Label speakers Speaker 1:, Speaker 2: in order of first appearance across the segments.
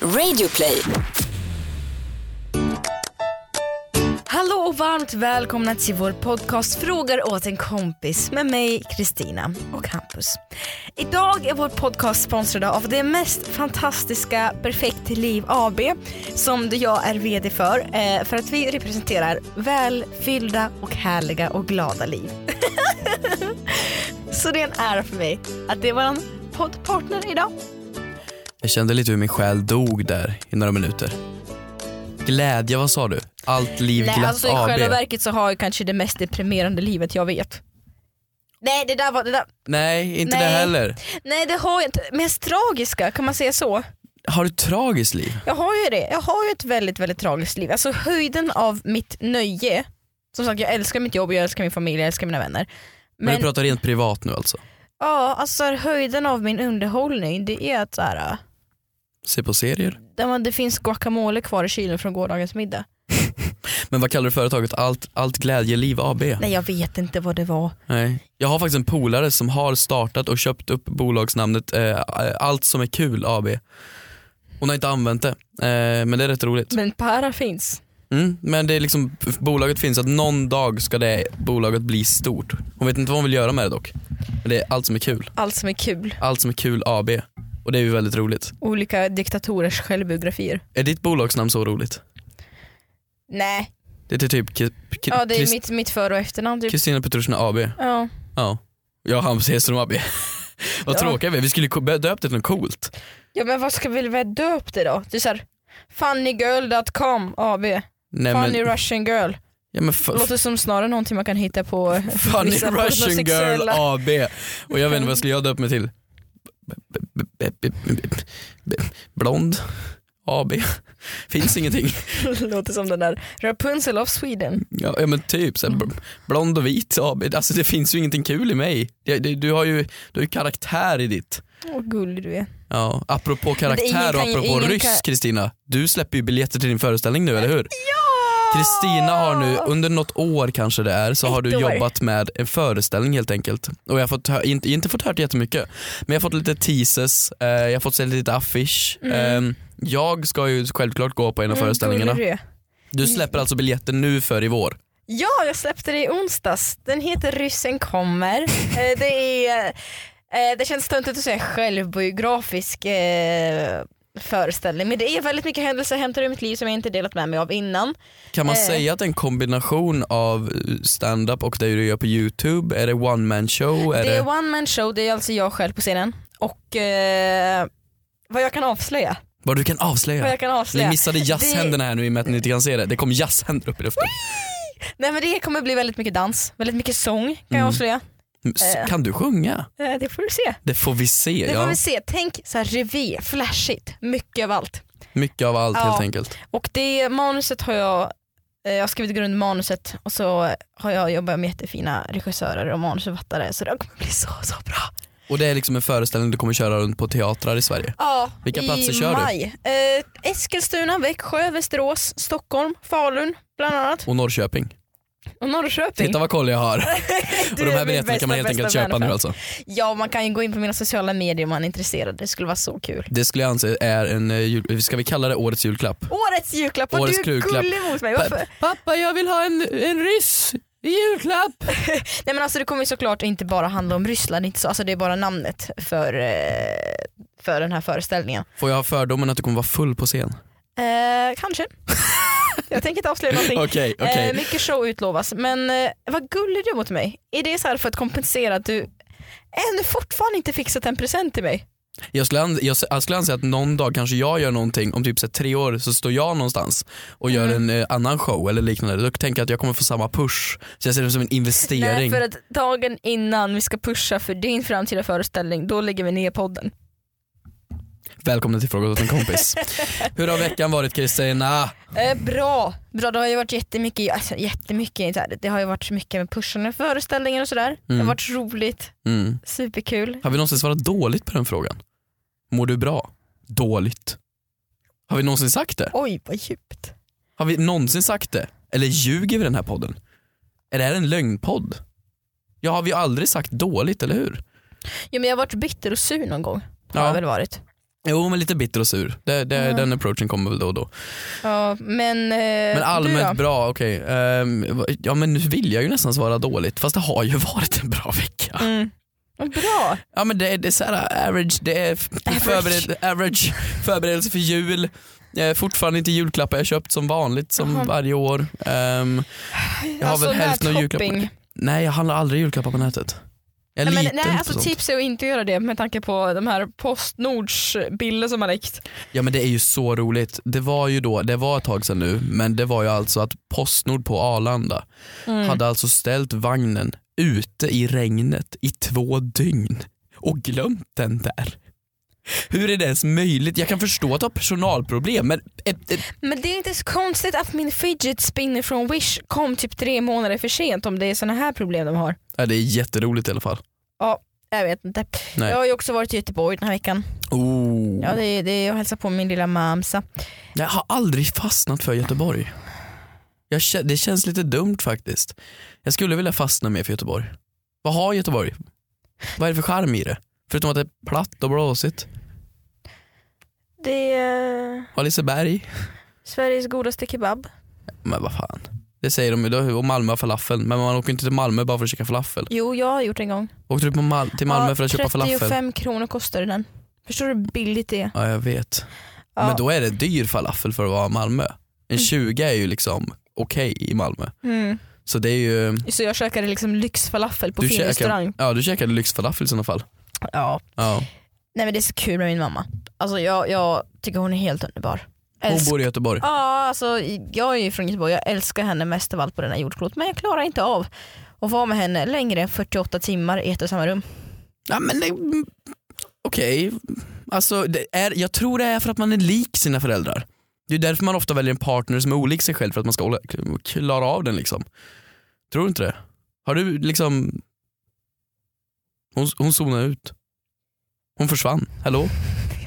Speaker 1: Radioplay.
Speaker 2: Hallå och varmt välkomna till vår podcast Frågar åt en kompis med mig Kristina och Hampus. Idag är vår podcast sponsrad av det mest fantastiska Perfekt Liv AB som jag är VD för eh, för att vi representerar välfyllda och härliga och glada liv. Så det är en ära för mig att det var en poddpartner idag.
Speaker 3: Jag kände lite hur min själ dog där i några minuter. Glädje, vad sa du? Allt liv glatt
Speaker 2: Nej, alltså i
Speaker 3: AB.
Speaker 2: själva verket så har jag kanske det mest deprimerande livet jag vet. Nej det där var, det där,
Speaker 3: Nej, inte det
Speaker 2: Nej.
Speaker 3: heller.
Speaker 2: Nej det har jag inte. Mest tragiska, kan man säga så?
Speaker 3: Har du ett tragiskt liv?
Speaker 2: Jag har ju det. Jag har ju ett väldigt väldigt tragiskt liv. Alltså höjden av mitt nöje. Som sagt jag älskar mitt jobb, jag älskar min familj, jag älskar mina vänner.
Speaker 3: Men,
Speaker 2: Men
Speaker 3: du pratar rent privat nu alltså?
Speaker 2: ja, alltså höjden av min underhållning det är att så här, äh,
Speaker 3: Se på serier?
Speaker 2: där man, det finns guacamole kvar i kylen från gårdagens middag.
Speaker 3: Men vad kallar du företaget? Allt, allt Glädjeliv AB?
Speaker 2: Nej jag vet inte vad det var.
Speaker 3: Nej. Jag har faktiskt en polare som har startat och köpt upp bolagsnamnet eh, Allt som är kul AB. Hon har inte använt det, eh, men det är rätt roligt.
Speaker 2: Men para finns.
Speaker 3: Mm, men det är liksom, bolaget finns att någon dag ska det bolaget bli stort. Hon vet inte vad hon vill göra med det dock. Men det är allt som är kul.
Speaker 2: Allt som är kul.
Speaker 3: Allt som är kul AB. Och det är ju väldigt roligt.
Speaker 2: Olika diktatorers självbiografier.
Speaker 3: Är ditt bolagsnamn så roligt?
Speaker 2: Nej,
Speaker 3: Det är typ Kristina
Speaker 2: ja, det är mitt, mitt för och efternamn typ.
Speaker 3: Kristina Petrushina AB.
Speaker 2: Ja.
Speaker 3: Ja. Jag och Hampus Hedström AB. vad
Speaker 2: Ja.
Speaker 3: tråkiga vi är. Vi skulle ko- döpt det till något coolt.
Speaker 2: Ja men vad ska vi väl döpa det då? Det är såhär funnygirl.com AB,
Speaker 3: Nej,
Speaker 2: funny
Speaker 3: men,
Speaker 2: russian girl.
Speaker 3: ja, men fa-
Speaker 2: Låter som snarare någonting man kan hitta på
Speaker 3: Funny
Speaker 2: vissa
Speaker 3: Russian Girl
Speaker 2: pornosexuella-
Speaker 3: AB. Och jag vet inte vad skulle jag döpa mig till? Blond AB. Finns ingenting.
Speaker 2: Låter som den där Rapunzel of Sweden.
Speaker 3: Ja ja, men typ så här, bl- blond och vit AB. Alltså det finns ju ingenting kul i mig. Det- det- Du har ju, du har ju karaktär i ditt.
Speaker 2: Åh gullig du är.
Speaker 3: Ja, apropå
Speaker 2: ingen
Speaker 3: karaktär och
Speaker 2: kan ju-
Speaker 3: apropå
Speaker 2: ingen kan-
Speaker 3: ryss Kristina. Du släpper ju biljetter till din föreställning nu eller hur? Kristina har nu, under något år kanske det är, så har
Speaker 2: Ah! Ett
Speaker 3: du
Speaker 2: år.
Speaker 3: jobbat med en föreställning helt enkelt. Och jag har fått, hö- inte, inte fått hört jättemycket, men jag har fått lite teases, eh, jag har fått se lite affisch.
Speaker 2: Mm.
Speaker 3: Eh, jag ska ju självklart gå på en av föreställningarna.
Speaker 2: Gullig du Mm, är.
Speaker 3: Du släpper alltså biljetter nu för i vår.
Speaker 2: Ja, jag släppte det i onsdags. Den heter Ryssen kommer. Eh, det är, eh, det känns töntigt att säga självbiografisk eh, föreställning men det är väldigt mycket händelser jag hämtar ur mitt liv som jag inte delat med mig av innan.
Speaker 3: Kan man
Speaker 2: Eh.
Speaker 3: säga att det är en kombination av eh, stand-up och det du gör på youtube? Är det one man show? Är
Speaker 2: det
Speaker 3: det...
Speaker 2: är one man show, det är alltså jag själv på scenen. Och eh, vad jag kan avslöja.
Speaker 3: Vad du kan avslöja?
Speaker 2: Vad jag kan
Speaker 3: Ni
Speaker 2: avslöja.
Speaker 3: missade jazzhänderna här nu i och med att ni inte kan se det. Det kom jazzhänder upp i luften.
Speaker 2: Nej men det kommer bli väldigt mycket dans, väldigt mycket sång kan jag
Speaker 3: Mm.
Speaker 2: avslöja.
Speaker 3: S-
Speaker 2: Eh.
Speaker 3: Kan du sjunga?
Speaker 2: Eh, det får du se.
Speaker 3: Det får vi se.
Speaker 2: Det får
Speaker 3: Ja.
Speaker 2: vi se. Tänk så här revé, flashigt, mycket av allt.
Speaker 3: Mycket av allt
Speaker 2: Ja.
Speaker 3: helt enkelt.
Speaker 2: Och det manuset har jag, eh, jag har skrivit grundmanuset och så har jag jobbat med jättefina regissörer och manusförfattare så det kommer bli så, så bra.
Speaker 3: Och det är liksom en föreställning du kommer köra runt på teatrar i Sverige.
Speaker 2: Ja,
Speaker 3: Vilka
Speaker 2: i
Speaker 3: platser kör du?
Speaker 2: maj. du? Eh, Eskilstuna, Växjö, Västerås, Stockholm, Falun bland annat
Speaker 3: Och Norrköping.
Speaker 2: och Norrköping.
Speaker 3: Titta vad koll jag har.
Speaker 2: Du
Speaker 3: Och de
Speaker 2: är
Speaker 3: här
Speaker 2: min
Speaker 3: biljetterna
Speaker 2: bästa,
Speaker 3: kan man helt
Speaker 2: bästa
Speaker 3: enkelt köpa nu
Speaker 2: fanfan.
Speaker 3: alltså.
Speaker 2: Ja, man kan ju gå in på mina sociala medier om man är intresserad. Det skulle vara så kul.
Speaker 3: Det skulle jag anse är en, eh, jul- ska vi kalla det årets julklapp?
Speaker 2: Årets julklapp, vad
Speaker 3: Årets
Speaker 2: du är
Speaker 3: julklapp.
Speaker 2: gullig mot mig. Varför?
Speaker 3: Pappa jag vill ha en, en ryss i julklapp.
Speaker 2: Nej men alltså det kommer ju såklart inte bara handla om Ryssland, inte så, alltså det är bara namnet för, eh, för den här föreställningen.
Speaker 3: Får jag ha fördomen att du kommer vara full på scen?
Speaker 2: Eh, kanske. jag tänker inte avslöja någonting.
Speaker 3: Okej, okej.
Speaker 2: Eh, mycket show utlovas, men eh, vad gullig du är mot mig. Är det så här för att kompensera att du ännu fortfarande inte fixat en present till mig?
Speaker 3: Jag skulle, an- jag, jag skulle anse att någon dag kanske jag gör någonting, om typ så här tre år så står jag någonstans och gör en eh, annan show eller liknande. Då tänker jag att jag kommer få samma push. Så jag ser det som en investering.
Speaker 2: Nej, för att dagen innan vi ska pusha för din framtida föreställning, då lägger vi ner podden.
Speaker 3: Välkommen till Fråga åt en kompis. Hur har veckan varit Kristina?
Speaker 2: Eh, bra, bra. Det har ju varit jättemycket, alltså, jättemycket så här, det har ju varit mycket med pushande föreställningar och sådär. Det har
Speaker 3: Mm.
Speaker 2: varit roligt,
Speaker 3: Mm.
Speaker 2: superkul.
Speaker 3: Har vi någonsin svarat dåligt på den frågan? Mår du bra? Dåligt. Har vi någonsin sagt det?
Speaker 2: Oj vad djupt.
Speaker 3: Har vi någonsin sagt det? Eller ljuger vi den här podden? Är det här en lögnpodd? Ja, har vi aldrig sagt dåligt, eller hur?
Speaker 2: Jo, men jag har varit bitter och sur någon gång. Har
Speaker 3: Ja.
Speaker 2: jag väl varit.
Speaker 3: Jo men lite bitter och sur, det, det,
Speaker 2: Ja.
Speaker 3: den approachen kommer väl då och då.
Speaker 2: Ja, men, eh,
Speaker 3: Men
Speaker 2: du
Speaker 3: allmänt
Speaker 2: då?
Speaker 3: bra, okej. Ehm, ja men nu vill jag ju nästan svara dåligt fast det har ju varit en bra vecka.
Speaker 2: Mm. Vad Bra.
Speaker 3: Ja men det, det är såhär average, det är f-
Speaker 2: Average.
Speaker 3: Förbered, average förberedelse för jul. Eh, fortfarande inte julklappar jag köpt som vanligt som
Speaker 2: Jaha.
Speaker 3: varje år. Ehm, Jag har
Speaker 2: Alltså,
Speaker 3: väl helst
Speaker 2: där
Speaker 3: någon julklapp på
Speaker 2: topping.
Speaker 3: nej jag handlar aldrig julklappar på nätet. Jag är
Speaker 2: Nej, men,
Speaker 3: liten
Speaker 2: nej,
Speaker 3: på
Speaker 2: alltså
Speaker 3: sånt.
Speaker 2: tips är att inte göra det med tanke på de här Postnords bilder som har läckt.
Speaker 3: Ja men det är ju så roligt. Det var ju då, det var ett tag sedan nu, men det var ju alltså att Postnord på Arlanda
Speaker 2: Mm.
Speaker 3: hade alltså ställt vagnen ute i regnet i två dygn och glömt den där. Hur är det ens möjligt? Jag kan förstå att ha personalproblem men ett, ett,
Speaker 2: Men det är inte så konstigt att min fidget spinner från Wish kom typ tre månader för sent om det är såna här problem de har.
Speaker 3: ja, det är jätteroligt i alla fall.
Speaker 2: Jag vet inte.
Speaker 3: Nej.
Speaker 2: Jag har ju också varit i Göteborg den här veckan.
Speaker 3: Oh.
Speaker 2: Ja, det, det, jag hälsar på min lilla mamsa.
Speaker 3: Jag har aldrig fastnat för Göteborg. Jag, kä- det känns lite dumt faktiskt. Jag skulle vilja fastna mer för Göteborg. Vad har Göteborg? Vad är det för charm i det? Förutom att det är platt och blåsigt.
Speaker 2: Det är eh,
Speaker 3: Och Liseberg?
Speaker 2: Sveriges godaste kebab.
Speaker 3: Men vad fan. Det säger de ju då, och Malmö har falafeln. Men man åker inte till Malmö bara för att käka falafel.
Speaker 2: Jo, jag har gjort det en gång.
Speaker 3: Åkte du på Mal- till Malmö
Speaker 2: Ja,
Speaker 3: för att köpa falafel?
Speaker 2: 35 kronor kostade den. Förstår du hur billigt det är?
Speaker 3: Ja jag vet.
Speaker 2: Ja.
Speaker 3: Men då är det dyr falafel för att vara i Malmö. En 20 är ju liksom okej i Malmö.
Speaker 2: Mm.
Speaker 3: Så det är ju,
Speaker 2: Så jag käkade liksom lyxfalafel på
Speaker 3: Du
Speaker 2: fin
Speaker 3: käkar-
Speaker 2: restaurang.
Speaker 3: ja du käkade lyxfalafel i sådana fall.
Speaker 2: Ja.
Speaker 3: Ja.
Speaker 2: Nej men det är så kul med min mamma. Alltså jag, jag tycker hon är helt underbar.
Speaker 3: Hon
Speaker 2: Älsk-
Speaker 3: bor i Göteborg.
Speaker 2: Ja, alltså, jag är ju från Göteborg, jag älskar henne mest av allt på denna jordklot men jag klarar inte av att vara med henne längre än 48 timmar i ett och samma rum.
Speaker 3: Ja, men det- mm, Okej, alltså, det är, jag tror det är för att man är lik sina föräldrar. Det är därför man ofta väljer en partner som är olik sig själv för att man ska hålla- klara av den. liksom Tror du inte det? Har du liksom... Hon, hon zonade ut. Hon försvann. Hallå?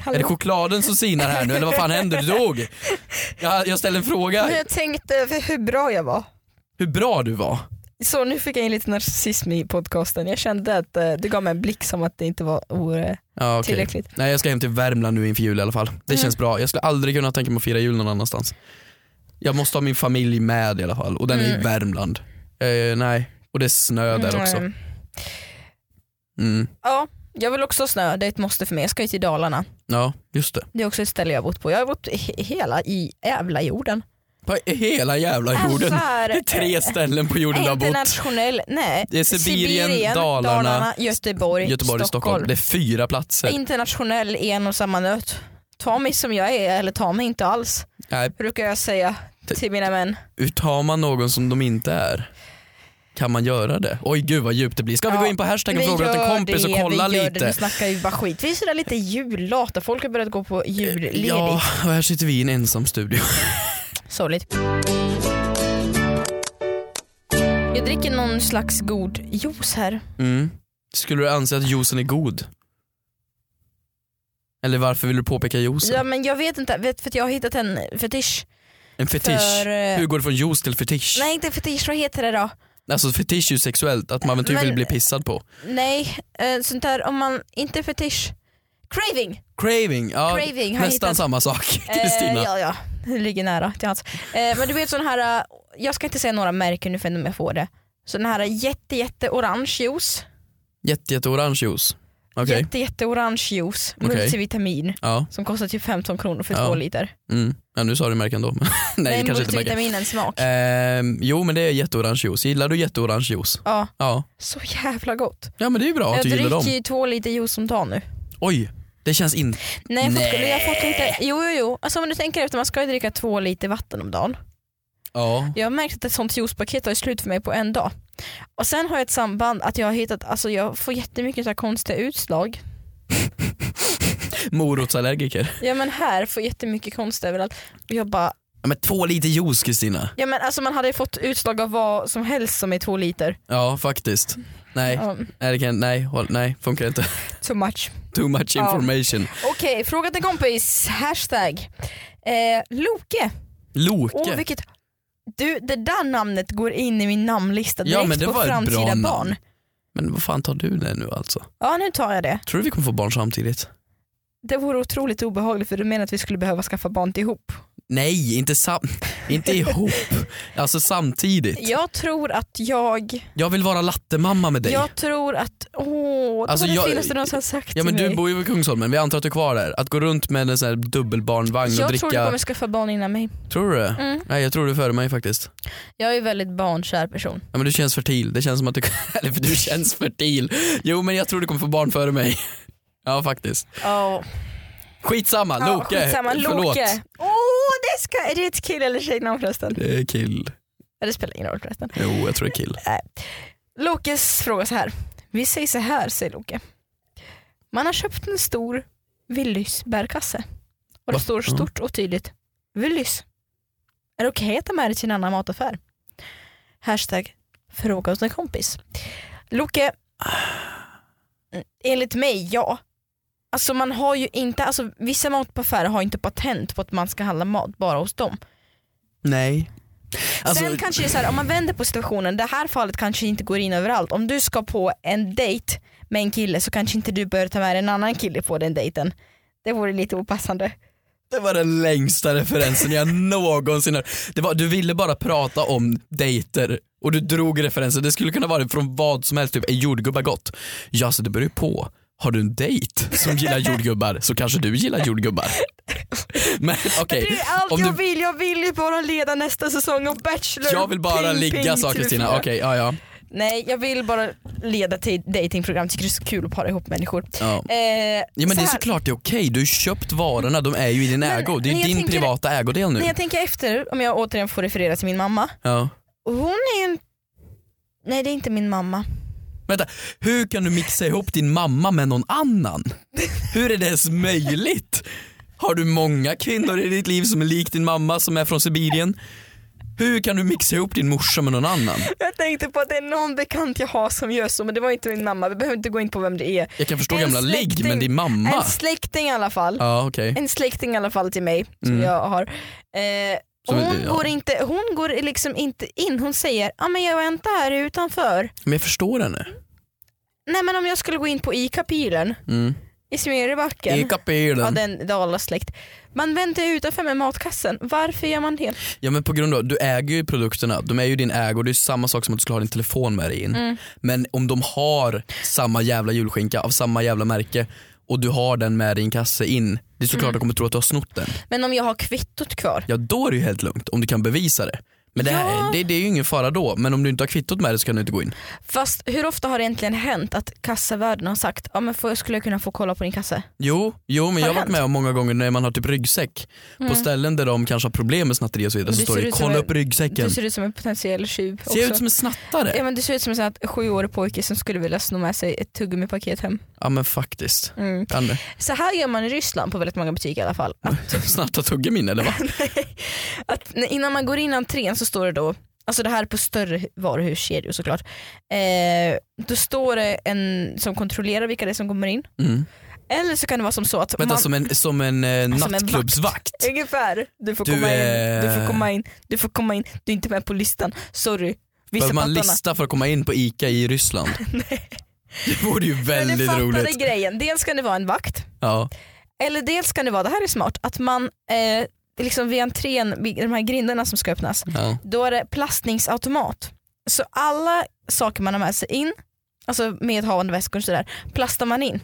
Speaker 3: Är det chokladen som sinar här nu eller vad fan händer? Du dog! Jag, jag ställer en fråga.
Speaker 2: Men jag tänkte över hur bra jag var.
Speaker 3: Hur bra du var.
Speaker 2: Så nu fick jag in lite narcissism i podcasten. Jag kände att eh, du gav mig en blick som att det inte var o- eh,
Speaker 3: Ja, okej.
Speaker 2: tillräckligt.
Speaker 3: Nej jag ska hem till Värmland nu inför jul i alla fall. Det
Speaker 2: Mm.
Speaker 3: känns bra. Jag skulle aldrig kunna tänka mig att fira jul någon annanstans. Jag måste ha min familj med i alla fall och den är i
Speaker 2: Mm.
Speaker 3: Värmland. Eh, nej, och det är snö där också.
Speaker 2: Mm.
Speaker 3: Mm.
Speaker 2: Ja, jag vill också ha snö, det är ett måste för mig. Jag ska ju till Dalarna.
Speaker 3: Ja, just det.
Speaker 2: Det är också ett ställe jag har bott på. Jag har bott i hela i jävla jorden.
Speaker 3: På hela
Speaker 2: Alltså,
Speaker 3: jävla jorden.
Speaker 2: här,
Speaker 3: Det är
Speaker 2: eh,
Speaker 3: tre ställen på jorden du har bott.
Speaker 2: internationell, nej.
Speaker 3: Det är Sibirien, Dalarna,
Speaker 2: Göteborg,
Speaker 3: Göteborg, Stockholm.
Speaker 2: Stockholm.
Speaker 3: Det är fyra platser.
Speaker 2: Internationell i en och samma nöt. Ta mig som jag är eller ta mig inte alls,
Speaker 3: Nej,
Speaker 2: brukar jag säga
Speaker 3: T-
Speaker 2: till mina män.
Speaker 3: hur tar man någon som de inte är? Kan man göra det? Oj gud vad djupt det blir. Ska vi
Speaker 2: Ja,
Speaker 3: gå in på hashtaggen
Speaker 2: Vi
Speaker 3: frågar åt
Speaker 2: gör
Speaker 3: en kompis och
Speaker 2: det,
Speaker 3: kolla
Speaker 2: vi gör Det. Nu
Speaker 3: lite?
Speaker 2: snackar vi bara skit. Vi är sådär lite jullata, folk har börjat gå på julledigt.
Speaker 3: Eh, Ja, och här sitter vi i en ensam studio.
Speaker 2: Sorgligt. Jag dricker någon slags god juice här.
Speaker 3: Mm. Skulle du anse att juicen är god? Eller varför vill du påpeka juicen?
Speaker 2: Ja, men jag vet inte, vet, för att jag har hittat en fetisch.
Speaker 3: en fetisch?
Speaker 2: För, eh,
Speaker 3: Hur går det från juice till fetisch?
Speaker 2: nej inte fetisch, vad heter det då?
Speaker 3: Alltså fetisch är ju sexuellt, att man typ
Speaker 2: Men-
Speaker 3: vill bli pissad på.
Speaker 2: Nej, eh, sånt där om man, inte fetisch. Craving!
Speaker 3: Craving, ja,
Speaker 2: Craving har jag
Speaker 3: nästan
Speaker 2: hittat.
Speaker 3: samma sak Kristina.
Speaker 2: Eh, ja, ja. Det ligger nära till hans. Eh, men du vet sån här, eh, jag ska inte säga några märken nu för om jag får det. Så den här jätte jätte orange juice,
Speaker 3: Jätte, jätteorange juice. Okej,
Speaker 2: jätte jätte orange juice,
Speaker 3: Okej.
Speaker 2: multivitamin
Speaker 3: ja.
Speaker 2: som kostar typ 15 kronor för
Speaker 3: Ja.
Speaker 2: två liter.
Speaker 3: Mm. ja. Nu sa du märken då. Nej, det kanske inte är märken.
Speaker 2: multivitaminens smak.
Speaker 3: Ehm, jo men det är jätteorange juice. Gillar du jätteorange juice?
Speaker 2: Ja,
Speaker 3: Ja.
Speaker 2: så jävla gott.
Speaker 3: Ja men det är ju bra att
Speaker 2: jag
Speaker 3: du gillar dem.
Speaker 2: dricker ju två liter juice om dagen nu.
Speaker 3: Oj, det känns inte...
Speaker 2: Nej, jag har fått-
Speaker 3: Nej.
Speaker 2: jag har fått lite, jo jo jo. Alltså om du tänker efter, man ska ju dricka två liter vatten om dagen.
Speaker 3: Ja.
Speaker 2: Jag har märkt att ett sånt juicepaket tar slut för mig på en dag. Och sen har jag ett samband att jag har hittat, alltså jag får jättemycket så här konstiga utslag.
Speaker 3: Morotsallergiker.
Speaker 2: Ja men här får jag jättemycket konstigt överallt. Och jag bara,
Speaker 3: Ja, men två liter juice Kristina.
Speaker 2: ja men alltså man hade ju fått utslag av vad som helst som är två liter.
Speaker 3: Ja faktiskt. Nej,
Speaker 2: Um,
Speaker 3: nej, det kan, nej, håll, nej funkar inte.
Speaker 2: too much.
Speaker 3: Too much
Speaker 2: Ja.
Speaker 3: information.
Speaker 2: Okej, fråga till kompis. Hashtag. Eh, Loke.
Speaker 3: Loke.
Speaker 2: Åh vilket... Du, det där namnet går in i min namnlista
Speaker 3: Ja,
Speaker 2: direkt
Speaker 3: men det
Speaker 2: på
Speaker 3: var ett bra
Speaker 2: framtida
Speaker 3: namn.
Speaker 2: barn.
Speaker 3: Men vad fan tar du det nu alltså?
Speaker 2: Ja nu tar jag det.
Speaker 3: Tror du vi kommer få barn samtidigt?
Speaker 2: Det vore otroligt obehagligt för du menar att vi skulle behöva skaffa barn ihop.
Speaker 3: Nej, inte, sam- inte ihop. Alltså samtidigt.
Speaker 2: Jag tror att jag,
Speaker 3: Jag vill vara lattemamma med dig.
Speaker 2: jag tror att, åh, det
Speaker 3: Alltså,
Speaker 2: var det
Speaker 3: jag-
Speaker 2: finaste någon har sagt
Speaker 3: Ja men
Speaker 2: till
Speaker 3: du
Speaker 2: mig.
Speaker 3: bor ju vid Kungsholmen, vi antar att du är kvar där. Att gå runt med en sån här dubbelbarnvagn och
Speaker 2: jag
Speaker 3: dricka.
Speaker 2: tror du kommer skaffa barn innan mig.
Speaker 3: Tror du det?
Speaker 2: Mm.
Speaker 3: Nej jag tror du är före mig faktiskt.
Speaker 2: Jag är ju väldigt barnkär person.
Speaker 3: Ja men du känns fertil, det känns som att du, eller för du känns fertil. Jo men jag tror du kommer få barn före mig. Ja faktiskt.
Speaker 2: Oh.
Speaker 3: Skitsamma, Loke.
Speaker 2: skitsamma,
Speaker 3: Förlåt.
Speaker 2: Loke. Oh, det ska, är det ett kill eller tjejnamn förresten?
Speaker 3: Det är kill.
Speaker 2: Ja, Det spelar ingen roll förresten.
Speaker 3: Jo jag tror det är kill.
Speaker 2: Lokes fråga så här. Vi säger så här, säger Loke. Man har köpt en stor Willys bärkasse. Och det
Speaker 3: Va?
Speaker 2: står
Speaker 3: Ja.
Speaker 2: stort och tydligt Willys. Är det okej att ta med det till en annan mataffär? Hashtag fråga hos en kompis. Loke, enligt mig ja. Alltså man har ju inte, alltså vissa mataffärer har inte patent på att man ska handla mat bara hos dem.
Speaker 3: Nej. Alltså,
Speaker 2: Sen kanske det är så här, om man vänder på situationen, det här fallet kanske inte går in överallt. Om du ska på en dejt med en kille så kanske inte du bör ta med en annan kille på den dejten. Det vore lite opassande.
Speaker 3: Det var den längsta referensen jag någonsin har. Det var, du ville bara prata om dejter och du drog referenser. Det skulle kunna vara från vad som helst, typ är jordgubbar gott? Ja, så det beror ju på. Har du en dejt som gillar jordgubbar så kanske du gillar jordgubbar. Men okej,
Speaker 2: Det är allt
Speaker 3: Om
Speaker 2: jag
Speaker 3: du-
Speaker 2: vill, jag vill ju bara leda nästa säsong av Bachelor.
Speaker 3: jag vill bara
Speaker 2: Ping,
Speaker 3: ligga
Speaker 2: ping,
Speaker 3: sa Kristina.
Speaker 2: TV4.
Speaker 3: Okej, ja ja.
Speaker 2: Nej, jag vill bara leda till datingprogram, tycker det är så kul att para ihop människor.
Speaker 3: ja.
Speaker 2: Eh,
Speaker 3: Ja men
Speaker 2: så
Speaker 3: det är
Speaker 2: här.
Speaker 3: såklart det är okej, du har ju köpt varorna, de är ju i din
Speaker 2: Men
Speaker 3: ägo. Det är
Speaker 2: när
Speaker 3: ju
Speaker 2: jag
Speaker 3: din
Speaker 2: tänker-
Speaker 3: privata ägodel nu.
Speaker 2: När jag tänker efter, om jag återigen får referera till min mamma.
Speaker 3: Ja.
Speaker 2: Hon är ju en... Nej det är inte min mamma.
Speaker 3: Vänta, hur kan du mixa ihop din mamma med någon annan? Hur är det ens möjligt? Har du många kvinnor i ditt liv som är lik din mamma som är från Sibirien? Hur kan du mixa ihop din morsa med någon annan?
Speaker 2: Jag tänkte på att det är någon bekant jag har som gör så men det var inte min mamma, vi behöver inte gå in på vem det är.
Speaker 3: Jag kan förstå
Speaker 2: En
Speaker 3: gamla ligg
Speaker 2: släkting-
Speaker 3: men din mamma?
Speaker 2: En släkting i alla fall.
Speaker 3: Ja okej.
Speaker 2: En släkting i alla fall till mig som
Speaker 3: Mm.
Speaker 2: jag har. Eh,
Speaker 3: Som-
Speaker 2: hon,
Speaker 3: ja.
Speaker 2: går inte, hon går liksom inte in, hon säger ah, men jag väntar här utanför.
Speaker 3: Men jag förstår henne.
Speaker 2: Nej men om jag skulle gå in på ICA-pilen
Speaker 3: Mm.
Speaker 2: i Smedjebacken,
Speaker 3: I
Speaker 2: ja,
Speaker 3: kapelen.
Speaker 2: den Dalas släkt, man väntar ju utanför med matkassen. Varför gör man det?
Speaker 3: Ja men på grund av, du äger ju produkterna, de är ju i din ägo, det är samma sak som att du skulle ha din telefon med dig in.
Speaker 2: Mm.
Speaker 3: Men om de har samma jävla julskinka av samma jävla märke och du har den med dig i en kasse in, det
Speaker 2: Mm.
Speaker 3: är såklart att de kommer tro att du har snott den.
Speaker 2: Men om jag har kvittot kvar,
Speaker 3: Ja då är det ju helt lugnt om du kan bevisa det. Men det, här,
Speaker 2: Ja.
Speaker 3: det, det är ju ingen fara då, men om du inte har kvittot med dig så kan du inte gå in.
Speaker 2: fast hur ofta har det egentligen hänt att kassavärden har sagt ah, men får, skulle jag kunna få kolla på din kasse?
Speaker 3: Jo, jo men
Speaker 2: Har
Speaker 3: jag har varit
Speaker 2: hänt? Mm.
Speaker 3: med om många gånger när man har typ ryggsäck på ställen där de kanske har problem med snatteri och så vidare
Speaker 2: Men
Speaker 3: så
Speaker 2: du
Speaker 3: står
Speaker 2: ser
Speaker 3: det
Speaker 2: ut som
Speaker 3: kolla
Speaker 2: en-
Speaker 3: upp ryggsäcken.
Speaker 2: Du ser ut som en potentiell tjuv också.
Speaker 3: Ser jag ut som en snattare?
Speaker 2: Ja, men du ser ut som en sån här sjuårig pojke som skulle vilja sno med sig ett tuggummipaket hem. Mm.
Speaker 3: Ja men faktiskt. Kan det?
Speaker 2: Så här gör man i Ryssland på väldigt många butiker i alla fall.
Speaker 3: Mm.
Speaker 2: Att,
Speaker 3: Snatta tuggummin eller va?
Speaker 2: att när- innan man går in i entrén så står det då, alltså det här är på större varuhuskedjor såklart. Eh, då står det en som kontrollerar vilka det är som kommer in.
Speaker 3: Mm.
Speaker 2: Eller så kan det vara som så att
Speaker 3: Vänta
Speaker 2: man,
Speaker 3: som en, som en eh,
Speaker 2: en vakt.
Speaker 3: nattklubbsvakt?
Speaker 2: ungefär, du får,
Speaker 3: Du
Speaker 2: komma in, du
Speaker 3: är-
Speaker 2: får komma in, du får komma in, du är inte med på listan, sorry. Vissa
Speaker 3: Behöver man
Speaker 2: pattarna.
Speaker 3: lista för att komma in på ICA i Ryssland? Det vore ju
Speaker 2: Men du
Speaker 3: väldigt
Speaker 2: fattade
Speaker 3: roligt.
Speaker 2: grejen, dels kan det vara en vakt
Speaker 3: Ja.
Speaker 2: Eller dels kan det vara, det här är smart, att man eh, liksom vid entrén, vid de här grindarna som ska öppnas,
Speaker 3: Ja.
Speaker 2: då är det plastningsautomat. Så alla saker man har med sig in, alltså medhavande väskor och sådär, plastar man in.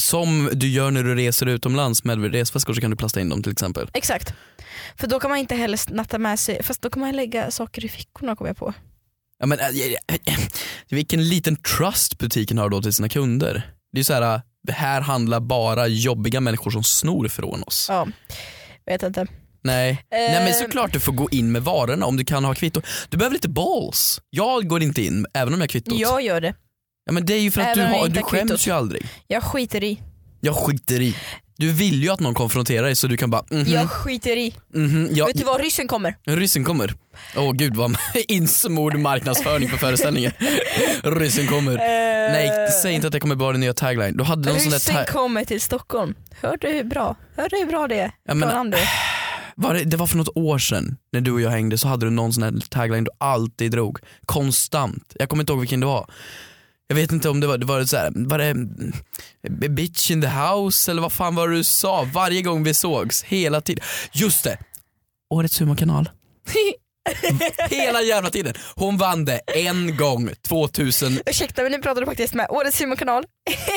Speaker 3: Som du gör när du reser utomlands med resväskor så kan du plasta in dem till exempel.
Speaker 2: Exakt. För då kan man inte heller snatta med sig, fast då kan man lägga saker i fickorna kommer jag på.
Speaker 3: Ja, men, äh, äh, äh, vilken liten trust butiken har då till sina kunder. Det är ju så här, äh, det här handlar bara jobbiga människor som snor från oss.
Speaker 2: Ja, vet inte.
Speaker 3: Nej. Nej men
Speaker 2: Eh,
Speaker 3: såklart du får gå in med varorna om du kan ha kvitto. Du behöver lite balls. Jag går inte in även om jag har kvittot.
Speaker 2: Jag gör det.
Speaker 3: Ja, men det är ju för att du,
Speaker 2: Även om jag
Speaker 3: har,
Speaker 2: inte
Speaker 3: du
Speaker 2: har
Speaker 3: skäms
Speaker 2: kvittot.
Speaker 3: ju aldrig.
Speaker 2: Jag skiter i.
Speaker 3: Jag skiter i. Du vill ju att någon konfronterar dig så du kan bara mhm,
Speaker 2: Jag skiter i.
Speaker 3: mhm, ja,
Speaker 2: Vet du vad, ryssen kommer.
Speaker 3: ryssen kommer. Åh gud vad insmord marknadsföring på föreställningen. ryssen kommer. Nej säg inte att det kommer bara en nya tagline. Du hade någon sån där
Speaker 2: Eh. Ryssen
Speaker 3: ta-
Speaker 2: kommer till Stockholm. Hör du hur bra, Hör du hur bra det är?
Speaker 3: Ja, men-
Speaker 2: Klarar han det?
Speaker 3: var det, det var för något år sedan när du och jag hängde så hade du någon sån här tagline du alltid drog. Konstant. Jag kommer inte ihåg vilken det var. Jag vet inte om det var, det var så här, var det mm, bitch in the house eller vad fan var det du sa varje gång vi sågs? Hela tiden. Just det! Årets humorkanal. Hela jävla tiden. Hon vann det en gång 2000,
Speaker 2: Ursäkta men nu pratar du faktiskt med årets humorkanal.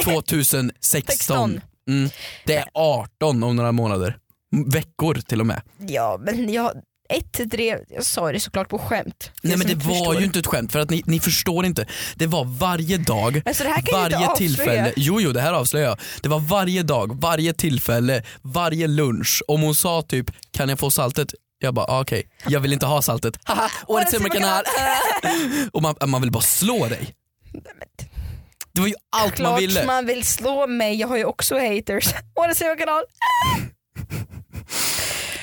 Speaker 3: 2016. Mm. Det är 18 om några månader. M- Veckor till och med.
Speaker 2: Ja men jag, ett drev, jag sa det såklart på skämt.
Speaker 3: Nej
Speaker 2: som
Speaker 3: men det
Speaker 2: inte
Speaker 3: var
Speaker 2: förstår.
Speaker 3: ju inte ett skämt för att ni, ni förstår inte. Det var varje dag
Speaker 2: Men så det här kan jag ju
Speaker 3: varje
Speaker 2: inte
Speaker 3: tillfälle,
Speaker 2: avslöja.
Speaker 3: jo jo det här avslöjar jag. Det var varje dag, varje tillfälle, varje lunch. Om hon sa typ kan jag få saltet? Jag bara ah, okej, jag vill inte ha saltet. Haha, årets humorkanal. Och man, man vill bara slå dig. Det var ju allt man
Speaker 2: Klart
Speaker 3: ville.
Speaker 2: man vill slå mig, jag har ju också haters. Årets humorkanal.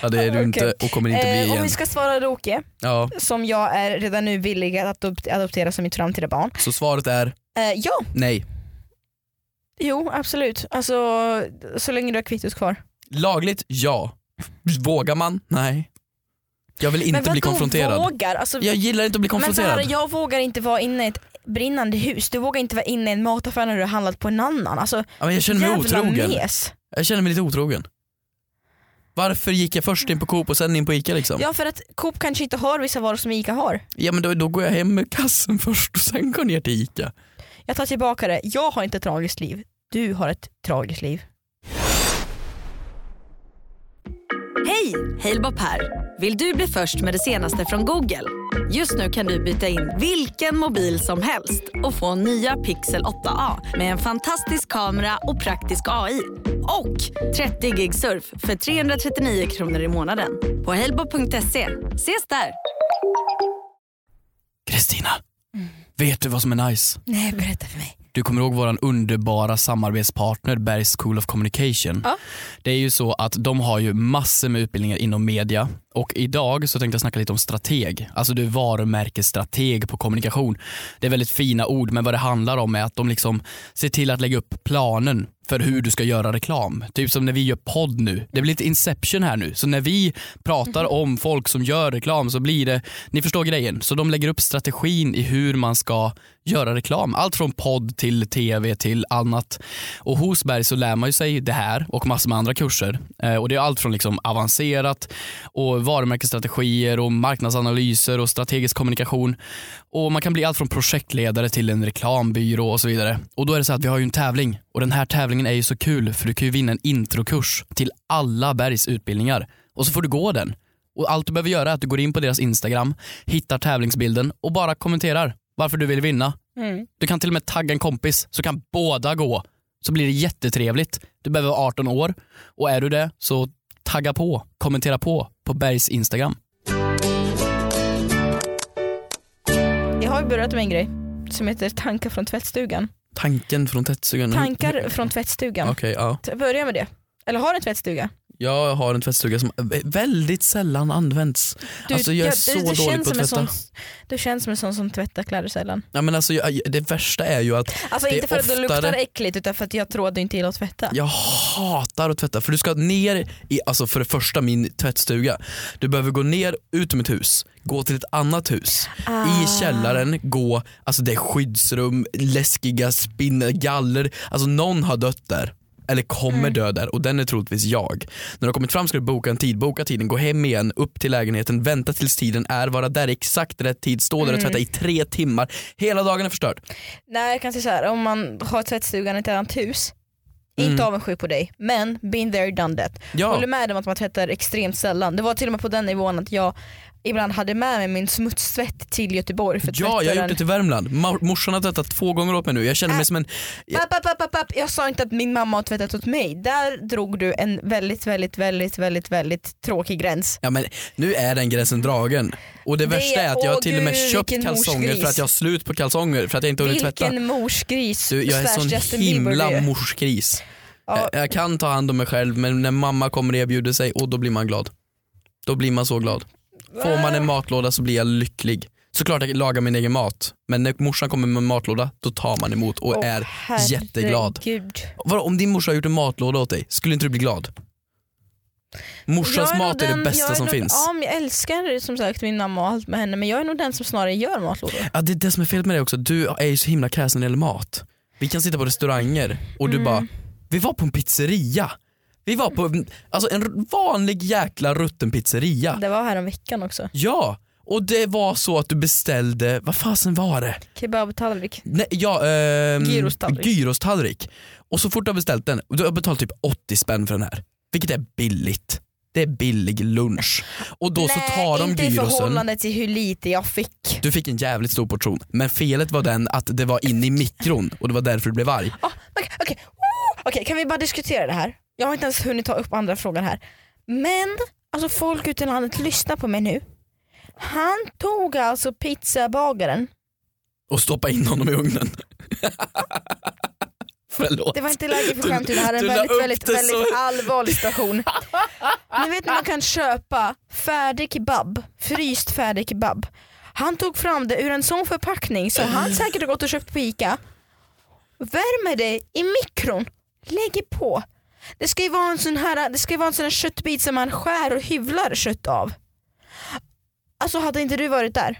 Speaker 3: Ja, det är du inte och kommer inte bli
Speaker 2: Eh, om
Speaker 3: igen.
Speaker 2: vi ska svara Roke,
Speaker 3: Ja,
Speaker 2: som jag är redan nu villig att adop- adoptera som mitt framtida barn.
Speaker 3: så svaret är
Speaker 2: Eh, ja,
Speaker 3: nej.
Speaker 2: jo absolut. Alltså så länge du har kvittot kvar.
Speaker 3: Lagligt, ja. Vågar man? Nej. Jag vill inte
Speaker 2: men
Speaker 3: bli
Speaker 2: vadå
Speaker 3: konfronterad.
Speaker 2: vågar? Alltså,
Speaker 3: Jag gillar inte att bli
Speaker 2: men så
Speaker 3: konfronterad.
Speaker 2: här, jag vågar inte vara inne i ett brinnande hus. Du vågar inte vara inne i en mataffär när du har handlat på en annan. Alltså
Speaker 3: ja, men jag känner mig
Speaker 2: jävla
Speaker 3: otrogen.
Speaker 2: mes.
Speaker 3: Jag känner mig lite otrogen. Varför gick jag först in på Coop och sen in på Ica liksom? Ja,
Speaker 2: Ja för att Coop kanske inte har vissa varor som Ica har.
Speaker 3: men då, då går jag hem med kassen först och sen går ner till Ica.
Speaker 2: Jag tar tillbaka det, jag har inte ett tragiskt liv. Du har ett tragiskt liv.
Speaker 1: Hej! Halebop här. Vill du bli först med det senaste från Google? Just nu kan du byta in vilken mobil som helst och få nya Pixel 8A med en fantastisk kamera och praktisk AI. Och 30 gig surf för 339 kronor i månaden på halebop.se. Ses där!
Speaker 3: Kristina, vet du vad som är nice?
Speaker 2: Mm. Nej berätta för mig.
Speaker 3: Du kommer ihåg vår underbara samarbetspartner Bergs School of Communication.
Speaker 2: Ja.
Speaker 3: Det är ju så att de har ju massor med utbildningar inom media och idag så tänkte jag snacka lite om strateg. Alltså du är varumärkesstrateg på kommunikation. Det är väldigt fina ord men vad det handlar om är att de liksom ser till att lägga upp planen för hur du ska göra reklam. Typ som när vi gör podd nu. Det blir lite inception här nu. Så när vi pratar om folk som gör reklam så blir det, ni förstår grejen. Så de lägger upp strategin i hur man ska göra reklam. Allt från podd till tv till annat. Och hos Berg så lär man ju sig det här och massor med andra kurser. Eh, och Det är allt från liksom avancerat och varumärkesstrategier och marknadsanalyser och strategisk kommunikation. Och Man kan bli allt från projektledare till en reklambyrå och så vidare. Och Då är det så att vi har ju en tävling och den här tävlingen är ju så kul för du kan ju vinna en introkurs till alla Bergs utbildningar och så får du gå den. Och Allt du behöver göra är att du går in på deras Instagram, hittar tävlingsbilden och bara kommenterar varför du vill vinna.
Speaker 2: Mm.
Speaker 3: Du kan till och med tagga en kompis så kan båda gå. Så blir det jättetrevligt. Du behöver vara 18 år och är du det så tagga på, kommentera på på Bergs Instagram.
Speaker 2: Jag har ju börjat med en grej som heter tankar från tvättstugan.
Speaker 3: Tanken från tvättstugan.
Speaker 2: Tankar från tvättstugan.
Speaker 3: Okej, ja.
Speaker 2: Så Börja med det. Eller har du en tvättstuga?
Speaker 3: Jag har en tvättstuga som väldigt sällan används.
Speaker 2: Du,
Speaker 3: Alltså, jag är
Speaker 2: ja,
Speaker 3: så
Speaker 2: du, du
Speaker 3: dålig
Speaker 2: känns
Speaker 3: på att
Speaker 2: som en
Speaker 3: tvätta.
Speaker 2: Sån, du känns som en sån som tvättar kläder sällan.
Speaker 3: Ja, men alltså, jag, det värsta är ju att
Speaker 2: Alltså
Speaker 3: Det är
Speaker 2: inte för att du luktar
Speaker 3: oftare-
Speaker 2: äckligt utan för att jag tror att du inte gillar att tvätta.
Speaker 3: jag hatar att tvätta. För du ska ner i, alltså för det första min tvättstuga. Du behöver gå ner ut ur mitt hus, gå till ett annat hus. i
Speaker 2: Ah.
Speaker 3: källaren gå, alltså det är skyddsrum, läskiga spinner, galler, alltså någon har dött där. Eller kommer
Speaker 2: Mm.
Speaker 3: dö där och den är troligtvis jag. När du har kommit fram ska du boka en tid, boka tiden, gå hem igen, upp till lägenheten, vänta tills tiden är, vara där i exakt rätt tid, stå där
Speaker 2: Mm.
Speaker 3: och tvätta i tre timmar. Hela dagen är förstörd.
Speaker 2: Nej jag kan säga så här, om man har tvättstugan i ett annat hus,
Speaker 3: Mm.
Speaker 2: inte avundsjuk på dig men been there done that.
Speaker 3: Ja,
Speaker 2: Håller med om att man tvättar extremt sällan. Det var till och med på den nivån att jag ibland hade med mig min smutstvätt till Göteborg för att
Speaker 3: ja jag typ- har gjort
Speaker 2: tvätta
Speaker 3: det
Speaker 2: den.
Speaker 3: till Värmland. Ma- Morsan har tvättat två gånger åt mig nu, jag känner mig
Speaker 2: Äh.
Speaker 3: som en...
Speaker 2: Papp, papp, papp, papp, papp. Jag sa inte att min mamma har tvättat åt mig. Där drog du en väldigt, väldigt, väldigt, väldigt, väldigt tråkig gräns.
Speaker 3: Ja men nu är den gränsen dragen. Och det,
Speaker 2: Det-
Speaker 3: värsta är att jag har
Speaker 2: åh
Speaker 3: till och med
Speaker 2: gud,
Speaker 3: köpt
Speaker 2: vilken
Speaker 3: kalsonger
Speaker 2: morsgris.
Speaker 3: för att jag har slut på kalsonger för att jag inte hunnit tvätta.
Speaker 2: Vilken morsgris
Speaker 3: Du, jag är
Speaker 2: slash
Speaker 3: sån
Speaker 2: Justin Bieber du
Speaker 3: himla eh,
Speaker 2: är.
Speaker 3: morsgris.
Speaker 2: Ja.
Speaker 3: Jag, jag kan ta hand om mig själv men när mamma kommer och erbjuder sig, och då blir man glad. Då blir man så glad. Får man en matlåda så blir jag lycklig. Såklart jag lagar min egen mat, men när morsan kommer med en matlåda då tar man emot och
Speaker 2: Åh,
Speaker 3: är jätteglad.
Speaker 2: herregud.
Speaker 3: Vadå, om din morsa har gjort en matlåda åt dig, skulle inte du bli glad? Morsans
Speaker 2: Jag nog
Speaker 3: mat är det
Speaker 2: den-
Speaker 3: bästa
Speaker 2: jag är
Speaker 3: som
Speaker 2: nog,
Speaker 3: finns.
Speaker 2: Ja, men jag älskar som sagt min mamma och allt med henne men jag är nog den som snarare gör matlådor.
Speaker 3: Ja, det är det som är fel med dig också, du är ju så himla kräsen när det gäller mat. Vi kan sitta på restauranger och
Speaker 2: Mm.
Speaker 3: du bara, vi var på en pizzeria. Vi var på alltså, en vanlig jäkla rutten pizzeria.
Speaker 2: Det var här om veckan också.
Speaker 3: Ja, och det var så att du beställde, vad fasen var det?
Speaker 2: Kebabtallrik.
Speaker 3: Nej, ja, ehm,
Speaker 2: Gyrostallrik.
Speaker 3: gyrostallrik. Och så fort du har beställt den, du har betalat typ 80 spänn för den här. Vilket är billigt. Det är billig lunch. Och då så tar de
Speaker 2: inte i
Speaker 3: gyrosen.
Speaker 2: förhållande till hur lite jag fick.
Speaker 3: Du fick en jävligt stor portion, men felet var den att det var inne i mikron och det var därför du blev arg.
Speaker 2: Ah, Okej, okej. Oh, okej, kan vi bara diskutera det här? Jag har inte ens hunnit ta upp andra frågan här. Men alltså folk ute i landet lyssnar på mig nu. Han tog alltså pizzabagaren.
Speaker 3: Och stoppa in honom i ugnen. Förlåt.
Speaker 2: Det var inte läge för skämt det här är
Speaker 3: du
Speaker 2: en
Speaker 3: la
Speaker 2: väldigt,
Speaker 3: upp
Speaker 2: väldigt,
Speaker 3: det
Speaker 2: väldigt
Speaker 3: så-
Speaker 2: allvarlig situation. Ni vet när man kan köpa färdig kebab, fryst färdig kebab. Han tog fram det ur en sån förpackning så
Speaker 3: Mm.
Speaker 2: han säkert har gått och köpt på Ica. Värmer det i mikron, lägger på. Det ska ju vara en sån här, det ska ju vara en sån här köttbit som man skär och hyvlar kött av. Alltså hade inte du varit där,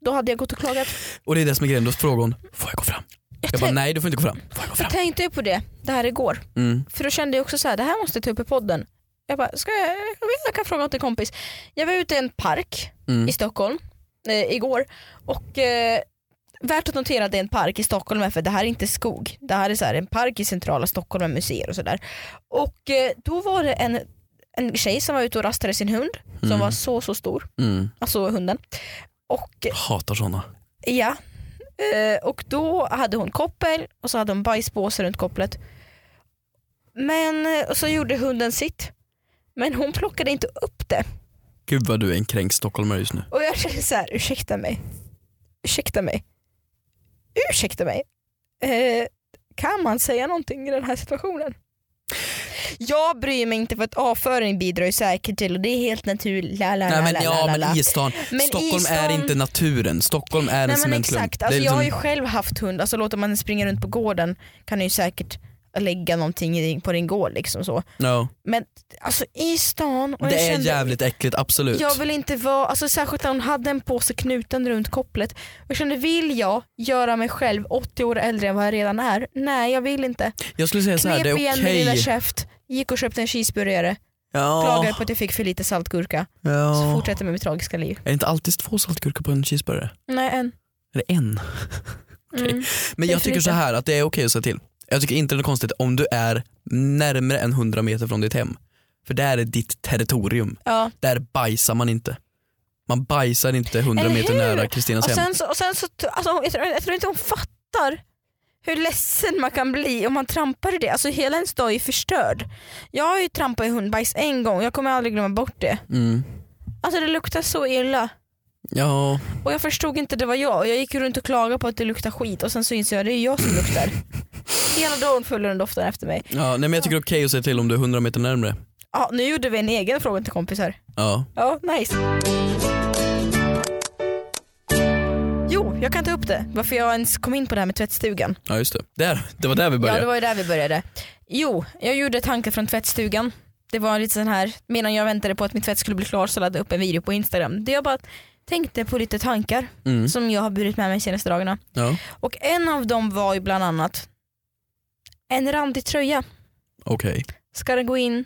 Speaker 2: då hade jag gått och klagat.
Speaker 3: Och det är det som är grejen, då frågar hon, får jag gå fram? Jag bara,
Speaker 2: tänk-
Speaker 3: nej du får inte gå fram. Får jag gå fram?
Speaker 2: Jag tänkte ju på det, det här igår.
Speaker 3: Mm.
Speaker 2: För då kände jag också så här, det här måste jag ta upp i podden. Jag bara, ska jag, jag, vet, jag kan fråga åt en kompis. Jag var ute i en park
Speaker 3: Mm.
Speaker 2: i Stockholm eh, igår och eh, värt att notera att det är en park i Stockholm är för det här är inte skog. Det här är så här, en park i centrala Stockholm med museer och sådär. Och eh, då var det en, en tjej som var ute och rastade sin hund som
Speaker 3: Mm.
Speaker 2: var så så stor,
Speaker 3: Mm.
Speaker 2: alltså hunden. Och
Speaker 3: Hatar såna.
Speaker 2: Ja. Eh, och då hade hon koppel och så hade hon bajspåse runt kopplet. Men eh, och så gjorde hunden sitt. Men hon plockade inte upp det.
Speaker 3: Gud vad du är en kränkt stockholmare just nu.
Speaker 2: Och jag kände så här, ursäkta mig. Ursäkta mig. Ursäkta mig. Eh, kan man säga någonting i den här situationen? Jag bryr mig inte för att avföring bidrar ju säkert till och det är helt naturligt. La, la, la,
Speaker 3: Nej
Speaker 2: Äh,
Speaker 3: men
Speaker 2: la,
Speaker 3: ja
Speaker 2: la, la.
Speaker 3: men i stan,
Speaker 2: Men i
Speaker 3: Stockholm är
Speaker 2: stan-
Speaker 3: inte naturen, Stockholm är en
Speaker 2: Nej men
Speaker 3: cementklump.
Speaker 2: exakt,
Speaker 3: Det är
Speaker 2: alltså, jag
Speaker 3: liksom-
Speaker 2: har ju själv haft hund, alltså, låter man den springa runt på gården kan den ju säkert lägga någonting i din- på din gård liksom så.
Speaker 3: Ja,
Speaker 2: Men alltså i stan, och jag
Speaker 3: det är
Speaker 2: kände,
Speaker 3: jävligt äckligt absolut.
Speaker 2: jag vill inte vara, alltså, särskilt när hon hade en påse knuten runt kopplet. Och jag kände vill jag göra mig själv 80 år äldre än vad jag redan är? Nej jag vill inte.
Speaker 3: Jag skulle säga så här,
Speaker 2: Knep
Speaker 3: det är
Speaker 2: igen min lilla
Speaker 3: okej.
Speaker 2: käft, gick och köpte en cheeseburgare, klagade
Speaker 3: Ja,
Speaker 2: på att jag fick för lite saltgurka. Så
Speaker 3: ja.
Speaker 2: fortsätter med mitt tragiska liv.
Speaker 3: Är det inte alltid två saltgurkor på en cheeseburgare?
Speaker 2: Nej än.
Speaker 3: Är det en? Okej.
Speaker 2: Mm.
Speaker 3: Men
Speaker 2: Det är
Speaker 3: jag
Speaker 2: för
Speaker 3: tycker
Speaker 2: lite.
Speaker 3: så här att det är okej att säga till. Jag tycker inte det är konstigt om du är närmare än 100 meter från ditt hem. För där är ditt territorium.
Speaker 2: Ja.
Speaker 3: Där bajsar man inte. Man bajsar inte 100
Speaker 2: Eller
Speaker 3: meter
Speaker 2: hur?
Speaker 3: nära Kristinas
Speaker 2: Och
Speaker 3: hem.
Speaker 2: sen så, och sen så alltså, jag, tror, jag tror inte hon fattar hur ledsen man kan bli om man trampar i det. Alltså hela ens dag är förstörd. Jag har ju trampat i hundbajs en gång, jag kommer aldrig glömma bort det.
Speaker 3: Mm.
Speaker 2: Alltså det luktar så illa.
Speaker 3: Ja,
Speaker 2: Och jag förstod inte det var jag. Och Jag gick ju runt och klagade på att det luktar skit och sen så insåg jag att det är jag som luktar. hela dagen följer den doften efter mig.
Speaker 3: ja nej, men jag tycker det är okej att säga till om du är 100 meter närmre.
Speaker 2: Ja, nu gjorde vi en egen fråga till kompisar.
Speaker 3: Ja.
Speaker 2: Ja, nice. Jo, jag kan ta upp det. Varför jag ens kom in på det här med tvättstugan.
Speaker 3: Ja just det. Där, det var där vi
Speaker 2: Ja det
Speaker 3: började.
Speaker 2: var ju där vi började. Jo, jag gjorde tankar från tvättstugan. Det var lite sån här, medan jag väntade på att min tvätt skulle bli klar så laddade jag upp en video på Instagram. Där jag bara tänkte på lite tankar
Speaker 3: Mm.
Speaker 2: som jag har burit med mig de senaste dagarna.
Speaker 3: Ja.
Speaker 2: Och en av dem var ju bland annat, en randig tröja,
Speaker 3: Okej.
Speaker 2: ska den gå in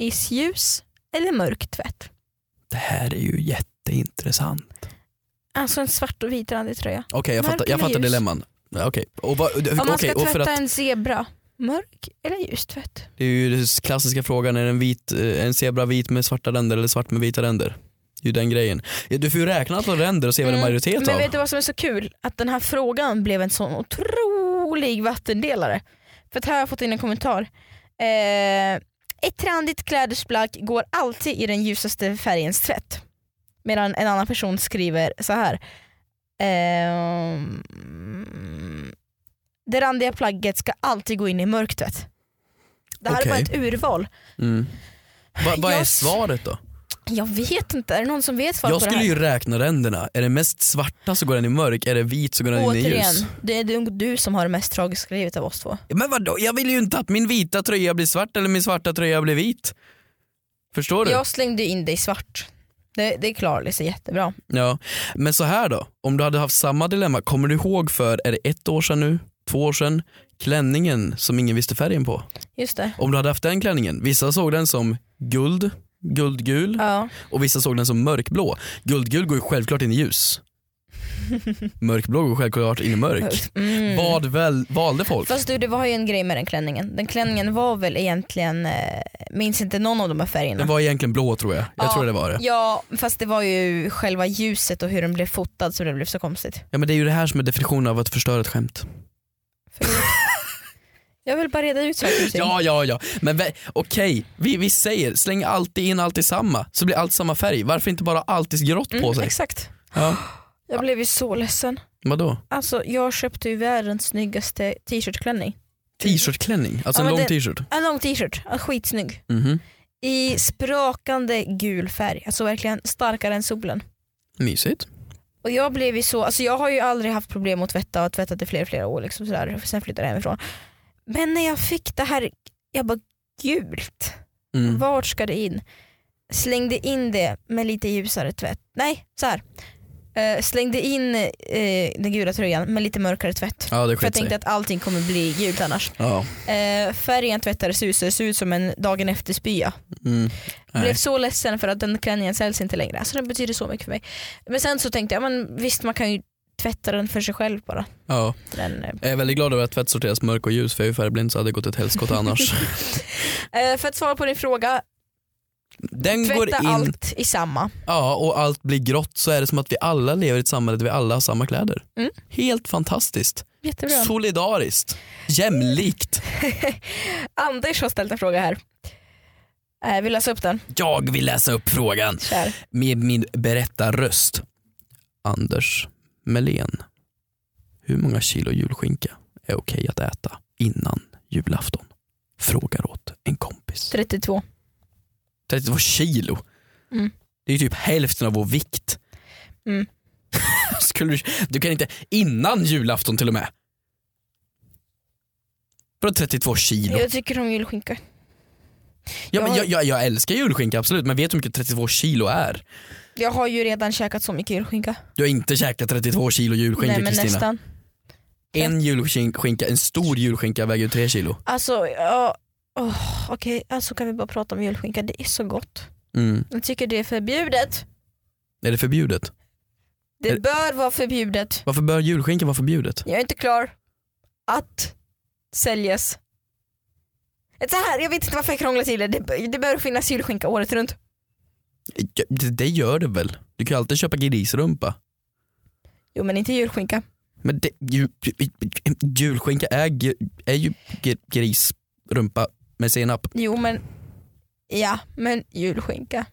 Speaker 2: i ljus eller mörk tvätt?
Speaker 3: Det här är ju jätteintressant.
Speaker 2: Alltså en svart och vit randig tröja.
Speaker 3: Okej jag
Speaker 2: Mörk
Speaker 3: fattar, jag
Speaker 2: eller
Speaker 3: fattar
Speaker 2: ljus?
Speaker 3: dilemman. Ja, Okej, och, vad-
Speaker 2: Om man
Speaker 3: Alltså, okej,
Speaker 2: ska
Speaker 3: och för
Speaker 2: tvätta
Speaker 3: att
Speaker 2: en zebra, mörk eller ljus tvätt?
Speaker 3: det är ju den klassiska frågan, är en, vit, eh, en zebra vit med svarta ränder eller svart med vita ränder? Det är ju den grejen. Ja, Du får ju räkna alla ränder och se vad en
Speaker 2: Mm,
Speaker 3: majoritet
Speaker 2: Men
Speaker 3: av.
Speaker 2: vet du vad som är så kul? Att den här frågan blev en sån otrolig vattendelare. För att här har jag fått in en kommentar. Eh, ett trendigt klädesplagg går alltid i den ljusaste färgens tvätt. Medan en annan person skriver så här. Ehm, det randiga plagget ska alltid gå in i mörk tvätt. Det här
Speaker 3: Okej.
Speaker 2: är bara ett urval.
Speaker 3: Mm. Va, vad är
Speaker 2: Jag-
Speaker 3: svaret då?
Speaker 2: Jag vet inte, är det någon som vet svaret
Speaker 3: Jag
Speaker 2: på det
Speaker 3: skulle
Speaker 2: här?
Speaker 3: ju räkna ränderna, är det mest svarta så går den i mörk, är det vit så går den in i
Speaker 2: Återigen,
Speaker 3: ljus.
Speaker 2: det är du- du som har det mest tragiska livet av oss två.
Speaker 3: Men vadå, jag vill ju inte att min vita tröja blir svart eller min svarta tröja blir vit. Förstår du?
Speaker 2: Jag slängde in dig svart. Det, det klarade sig jättebra.
Speaker 3: Ja. Men så här då, om du hade haft samma dilemma, kommer du ihåg för, är det ett år sedan nu? Två år sedan? Klänningen som ingen visste färgen på.
Speaker 2: Just det.
Speaker 3: Om du hade haft den klänningen, vissa såg den som guld, guldgul
Speaker 2: Ja.
Speaker 3: och vissa såg den som mörkblå. Guldgul går ju självklart in i ljus. Mörkblå går självklart in i mörk.
Speaker 2: Mm.
Speaker 3: Vad väl, valde folk?
Speaker 2: Fast du det var ju en grej med den klänningen. Den klänningen var väl egentligen, eh, minns inte någon av de här färgerna.
Speaker 3: Den var egentligen blå tror jag. Jag
Speaker 2: Ja.
Speaker 3: tror det var det.
Speaker 2: Ja fast det var ju själva ljuset och hur den blev fotad så det blev så konstigt.
Speaker 3: Ja, men det är ju det här som är definitionen av att förstöra ett skämt.
Speaker 2: Förlåt. Jag vill bara reda ut saker och ting.
Speaker 3: Ja, ja, ja. Men vä- okej, vi, vi säger släng alltid in allt i samma så blir allt samma färg. Varför inte bara alltid grått på
Speaker 2: mm,
Speaker 3: sig?
Speaker 2: Exakt.
Speaker 3: Ja.
Speaker 2: Jag blev ju så ledsen.
Speaker 3: Vadå?
Speaker 2: Alltså jag köpte ju världens snyggaste t-shirtklänning.
Speaker 3: T-shirtklänning, alltså
Speaker 2: Ja,
Speaker 3: en
Speaker 2: men
Speaker 3: lång
Speaker 2: det-
Speaker 3: t-shirt.
Speaker 2: En lång t-shirt, en skitsnygg.
Speaker 3: Mhm.
Speaker 2: I sprakande gul färg, alltså verkligen starkare än solen.
Speaker 3: Mysigt.
Speaker 2: Och jag blev ju så, alltså jag har ju aldrig haft problem att tvätta och har tvättat i flera flera år liksom sådär, sen flyttade jag hemifrån. Men när jag fick det här, jag bara gult,
Speaker 3: Mm.
Speaker 2: vart ska det in? Slängde in det med lite ljusare tvätt, nej så här. Eh, slängde in eh, den gula tröjan med lite mörkare tvätt.
Speaker 3: Ja, det
Speaker 2: För jag
Speaker 3: skit sig.
Speaker 2: tänkte att allting kommer bli gult annars.
Speaker 3: Ja.
Speaker 2: Eh, färgen tvättades ut så det ser ut som en dagen efter spya.
Speaker 3: Mm. Nej.
Speaker 2: Blev så ledsen för att den klänningen säljs inte längre. Alltså den betyder så mycket för mig. Men sen så tänkte jag, men visst man kan ju tvätta den för sig själv bara.
Speaker 3: ja.
Speaker 2: Den, eh.
Speaker 3: Jag är väldigt glad över att tvätt sorteras mörk och ljus för jag är ju färgblind så hade det gått ett helskotta annars.
Speaker 2: Eh, för att svara på din fråga,
Speaker 3: Den går in,
Speaker 2: tvätta allt i samma.
Speaker 3: ja och allt blir grått så är det som att vi alla lever i ett samhälle där vi alla har samma kläder.
Speaker 2: Mm.
Speaker 3: Helt fantastiskt.
Speaker 2: Jättebra.
Speaker 3: Solidariskt. Jämlikt.
Speaker 2: Anders har ställt en fråga här. Eh, vill läsa upp den?
Speaker 3: Jag vill läsa upp frågan.
Speaker 2: Kör.
Speaker 3: med min berättarröst. Anders Melén. Hur många kilo julskinka är okej att äta innan julafton? Frågar åt en kompis.
Speaker 2: 32.
Speaker 3: 32 kilo?
Speaker 2: Mm.
Speaker 3: Det är ju typ hälften av vår vikt.
Speaker 2: Mm.
Speaker 3: Skulle du, du kan inte, innan julafton till och med. Vadå 32 kilo?
Speaker 2: Jag tycker om julskinka.
Speaker 3: Ja, men
Speaker 2: jag-
Speaker 3: jag, jag, jag älskar julskinka absolut men vet du hur mycket 32 kilo är?
Speaker 2: Jag har ju redan käkat så mycket julskinka.
Speaker 3: Du har inte käkat 32 kilo
Speaker 2: Nej
Speaker 3: julskinka
Speaker 2: men
Speaker 3: Kristina.
Speaker 2: nästan.
Speaker 3: En julskinka, en stor julskinka väger ju tre kilo.
Speaker 2: Alltså, ja. åh, okej, alltså kan vi bara prata om julskinka. Det är så gott. Jag tycker det är förbjudet.
Speaker 3: Mm. Är det förbjudet?
Speaker 2: Det
Speaker 3: Är-
Speaker 2: bör vara förbjudet.
Speaker 3: Varför bör julskinka vara förbjudet?
Speaker 2: Jag är inte klar. Att säljas. Så här, jag vet inte varför jag krånglar till det. Det, bör- det bör finnas julskinka året runt.
Speaker 3: Ja, Det, det gör det väl? Du kan ju alltid köpa grisrumpa.
Speaker 2: Jo men inte julskinka.
Speaker 3: Men det, ju, ju, julskinka är, gr- är ju gr- grisrumpa med senap.
Speaker 2: Jo men, ja men julskinka.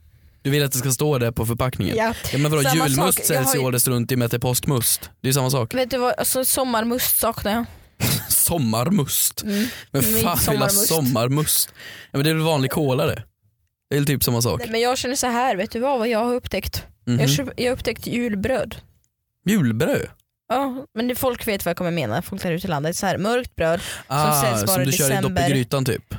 Speaker 3: Du vill att det ska stå det på förpackningen?
Speaker 2: Ja.
Speaker 3: Ja, men vadå,
Speaker 2: Samma sak,
Speaker 3: julmust
Speaker 2: jag
Speaker 3: säljs
Speaker 2: har
Speaker 3: ju
Speaker 2: ju-
Speaker 3: året runt i och med att det är påskmust. Det är ju samma sak.
Speaker 2: Vet du vad, alltså, sommarmust saknar jag.
Speaker 3: Sommarmust.
Speaker 2: Mm.
Speaker 3: Men
Speaker 2: Men
Speaker 3: fan vill ha
Speaker 2: sommarmust.
Speaker 3: sommarmust? Ja, men det är väl vanlig cola det? Det är väl typ samma sak.
Speaker 2: Nej, men jag känner så här, vet du vad, vad jag har upptäckt?
Speaker 3: Mhm.
Speaker 2: Jag, köp, jag har upptäckt julbröd.
Speaker 3: Julbröd?
Speaker 2: Ja, men det, folk vet vad jag kommer mena, folk där ute i landet. Så här, mörkt bröd, säljs bara
Speaker 3: Ah, som
Speaker 2: i
Speaker 3: du kör i dopp
Speaker 2: december.
Speaker 3: i grytan typ?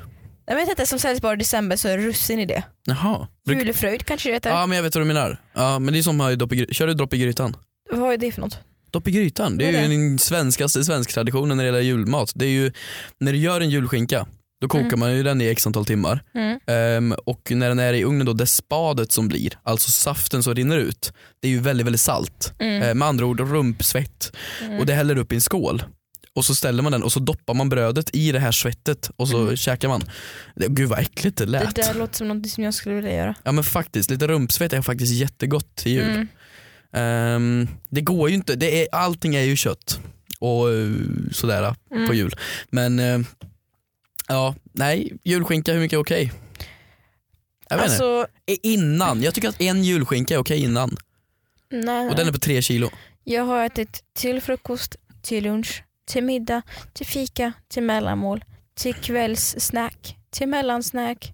Speaker 2: jag vet inte, som säljs bara i december så är russin i det.
Speaker 3: Jaha. Bruk-
Speaker 2: Julefröjd kanske det heter.
Speaker 3: Ja men jag vet vad du menar. Ja, men det är som här i dopp i gry- Kör du dopp i grytan?
Speaker 2: Vad är det för något?
Speaker 3: Dopp i grytan, det är
Speaker 2: Vad är
Speaker 3: ju den svenskaste svensk traditionen när det gäller julmat. Det är ju, när du gör en julskinka, då kokar
Speaker 2: Mm.
Speaker 3: man ju den i x antal timmar.
Speaker 2: Mm.
Speaker 3: Ehm, och när den är i ugnen då, det spadet som blir, alltså saften som rinner ut, det är ju väldigt väldigt salt.
Speaker 2: Mm.
Speaker 3: Ehm, med andra ord rumpsvett.
Speaker 2: Mm.
Speaker 3: Och det häller du upp i en skål. Och så ställer man den och så doppar man brödet i det här svettet och så käkar man. Det- Gud vad äckligt det
Speaker 2: Mm. Det
Speaker 3: lät.
Speaker 2: där låter som något som jag skulle vilja göra.
Speaker 3: Ja men faktiskt, lite rumpsvett är faktiskt jättegott till jul.
Speaker 2: Mm.
Speaker 3: Ehm, det går ju inte, det är, allting är ju kött och eh, sådär på
Speaker 2: Mm.
Speaker 3: jul. Men eh, ja, nej, julskinka hur mycket är okej? Jag vet inte.
Speaker 2: Alltså,
Speaker 3: I- Innan, jag tycker att en julskinka är okej innan.
Speaker 2: nej.
Speaker 3: Och den är på tre kilo.
Speaker 2: Jag har ätit till frukost, till lunch, till middag, till fika, till mellanmål, till kvällssnack, till mellansnack.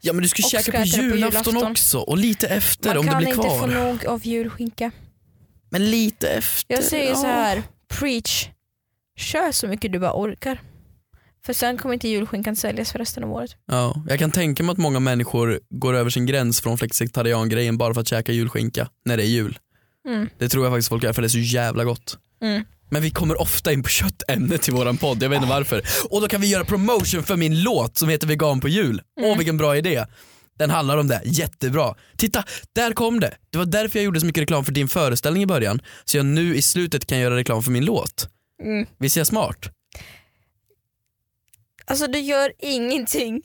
Speaker 3: Ja men du ska
Speaker 2: Och
Speaker 3: käka
Speaker 2: ska
Speaker 3: på
Speaker 2: äta det på
Speaker 3: julafton
Speaker 2: julafton.
Speaker 3: också och lite efter
Speaker 2: Man
Speaker 3: om det
Speaker 2: kan
Speaker 3: blir
Speaker 2: inte få
Speaker 3: kvar.
Speaker 2: nog av julskinka.
Speaker 3: Men lite efter.
Speaker 2: Jag säger
Speaker 3: ja.
Speaker 2: så här, preach. Kör så mycket du bara orkar. För sen kommer inte julskinkan säljas för resten av året.
Speaker 3: Ja, jag kan tänka mig att många människor går över sin gräns från flexitarian-grejen bara för att käka julskinka när det är jul.
Speaker 2: Mm.
Speaker 3: Det tror jag faktiskt folk gör för det är så jävla gott.
Speaker 2: Mm.
Speaker 3: Men vi kommer ofta in på köttämnet i våran podd, jag vet inte
Speaker 2: Ah.
Speaker 3: varför. Och då kan vi göra promotion för min låt som heter vegan på jul.
Speaker 2: Mm.
Speaker 3: Åh vilken bra idé. Den handlar om det, jättebra. Titta, där kom det. Det var därför jag gjorde så mycket reklam för din föreställning i början. Så jag nu i slutet kan göra reklam för min låt.
Speaker 2: Mm.
Speaker 3: Visst är jag smart?
Speaker 2: Alltså du gör ingenting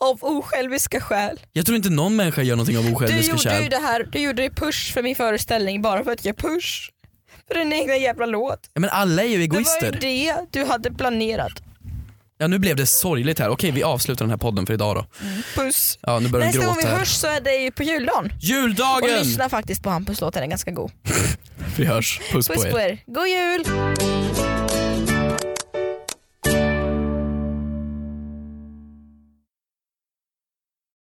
Speaker 2: av osjälviska skäl.
Speaker 3: Jag tror inte någon människa gör någonting av
Speaker 2: Du
Speaker 3: osjälviska
Speaker 2: gjorde ju
Speaker 3: kärl.
Speaker 2: det här, du gjorde det push för min föreställning bara för att jag push. För din egna jävla låt.
Speaker 3: Ja, men alla är ju
Speaker 2: Det var ju
Speaker 3: egoister.
Speaker 2: det du hade planerat.
Speaker 3: Ja nu blev det sorgligt här, okej vi avslutar den här podden för idag då.
Speaker 2: Puss.
Speaker 3: Ja nu börjar de
Speaker 2: Nästa gång vi
Speaker 3: gråta här.
Speaker 2: hörs så är det ju på juldagen. Och
Speaker 3: Juldagen!
Speaker 2: lyssna faktiskt på Hampus låt, den är ganska god.
Speaker 3: Vi hörs, puss,
Speaker 2: Puss på er, god jul!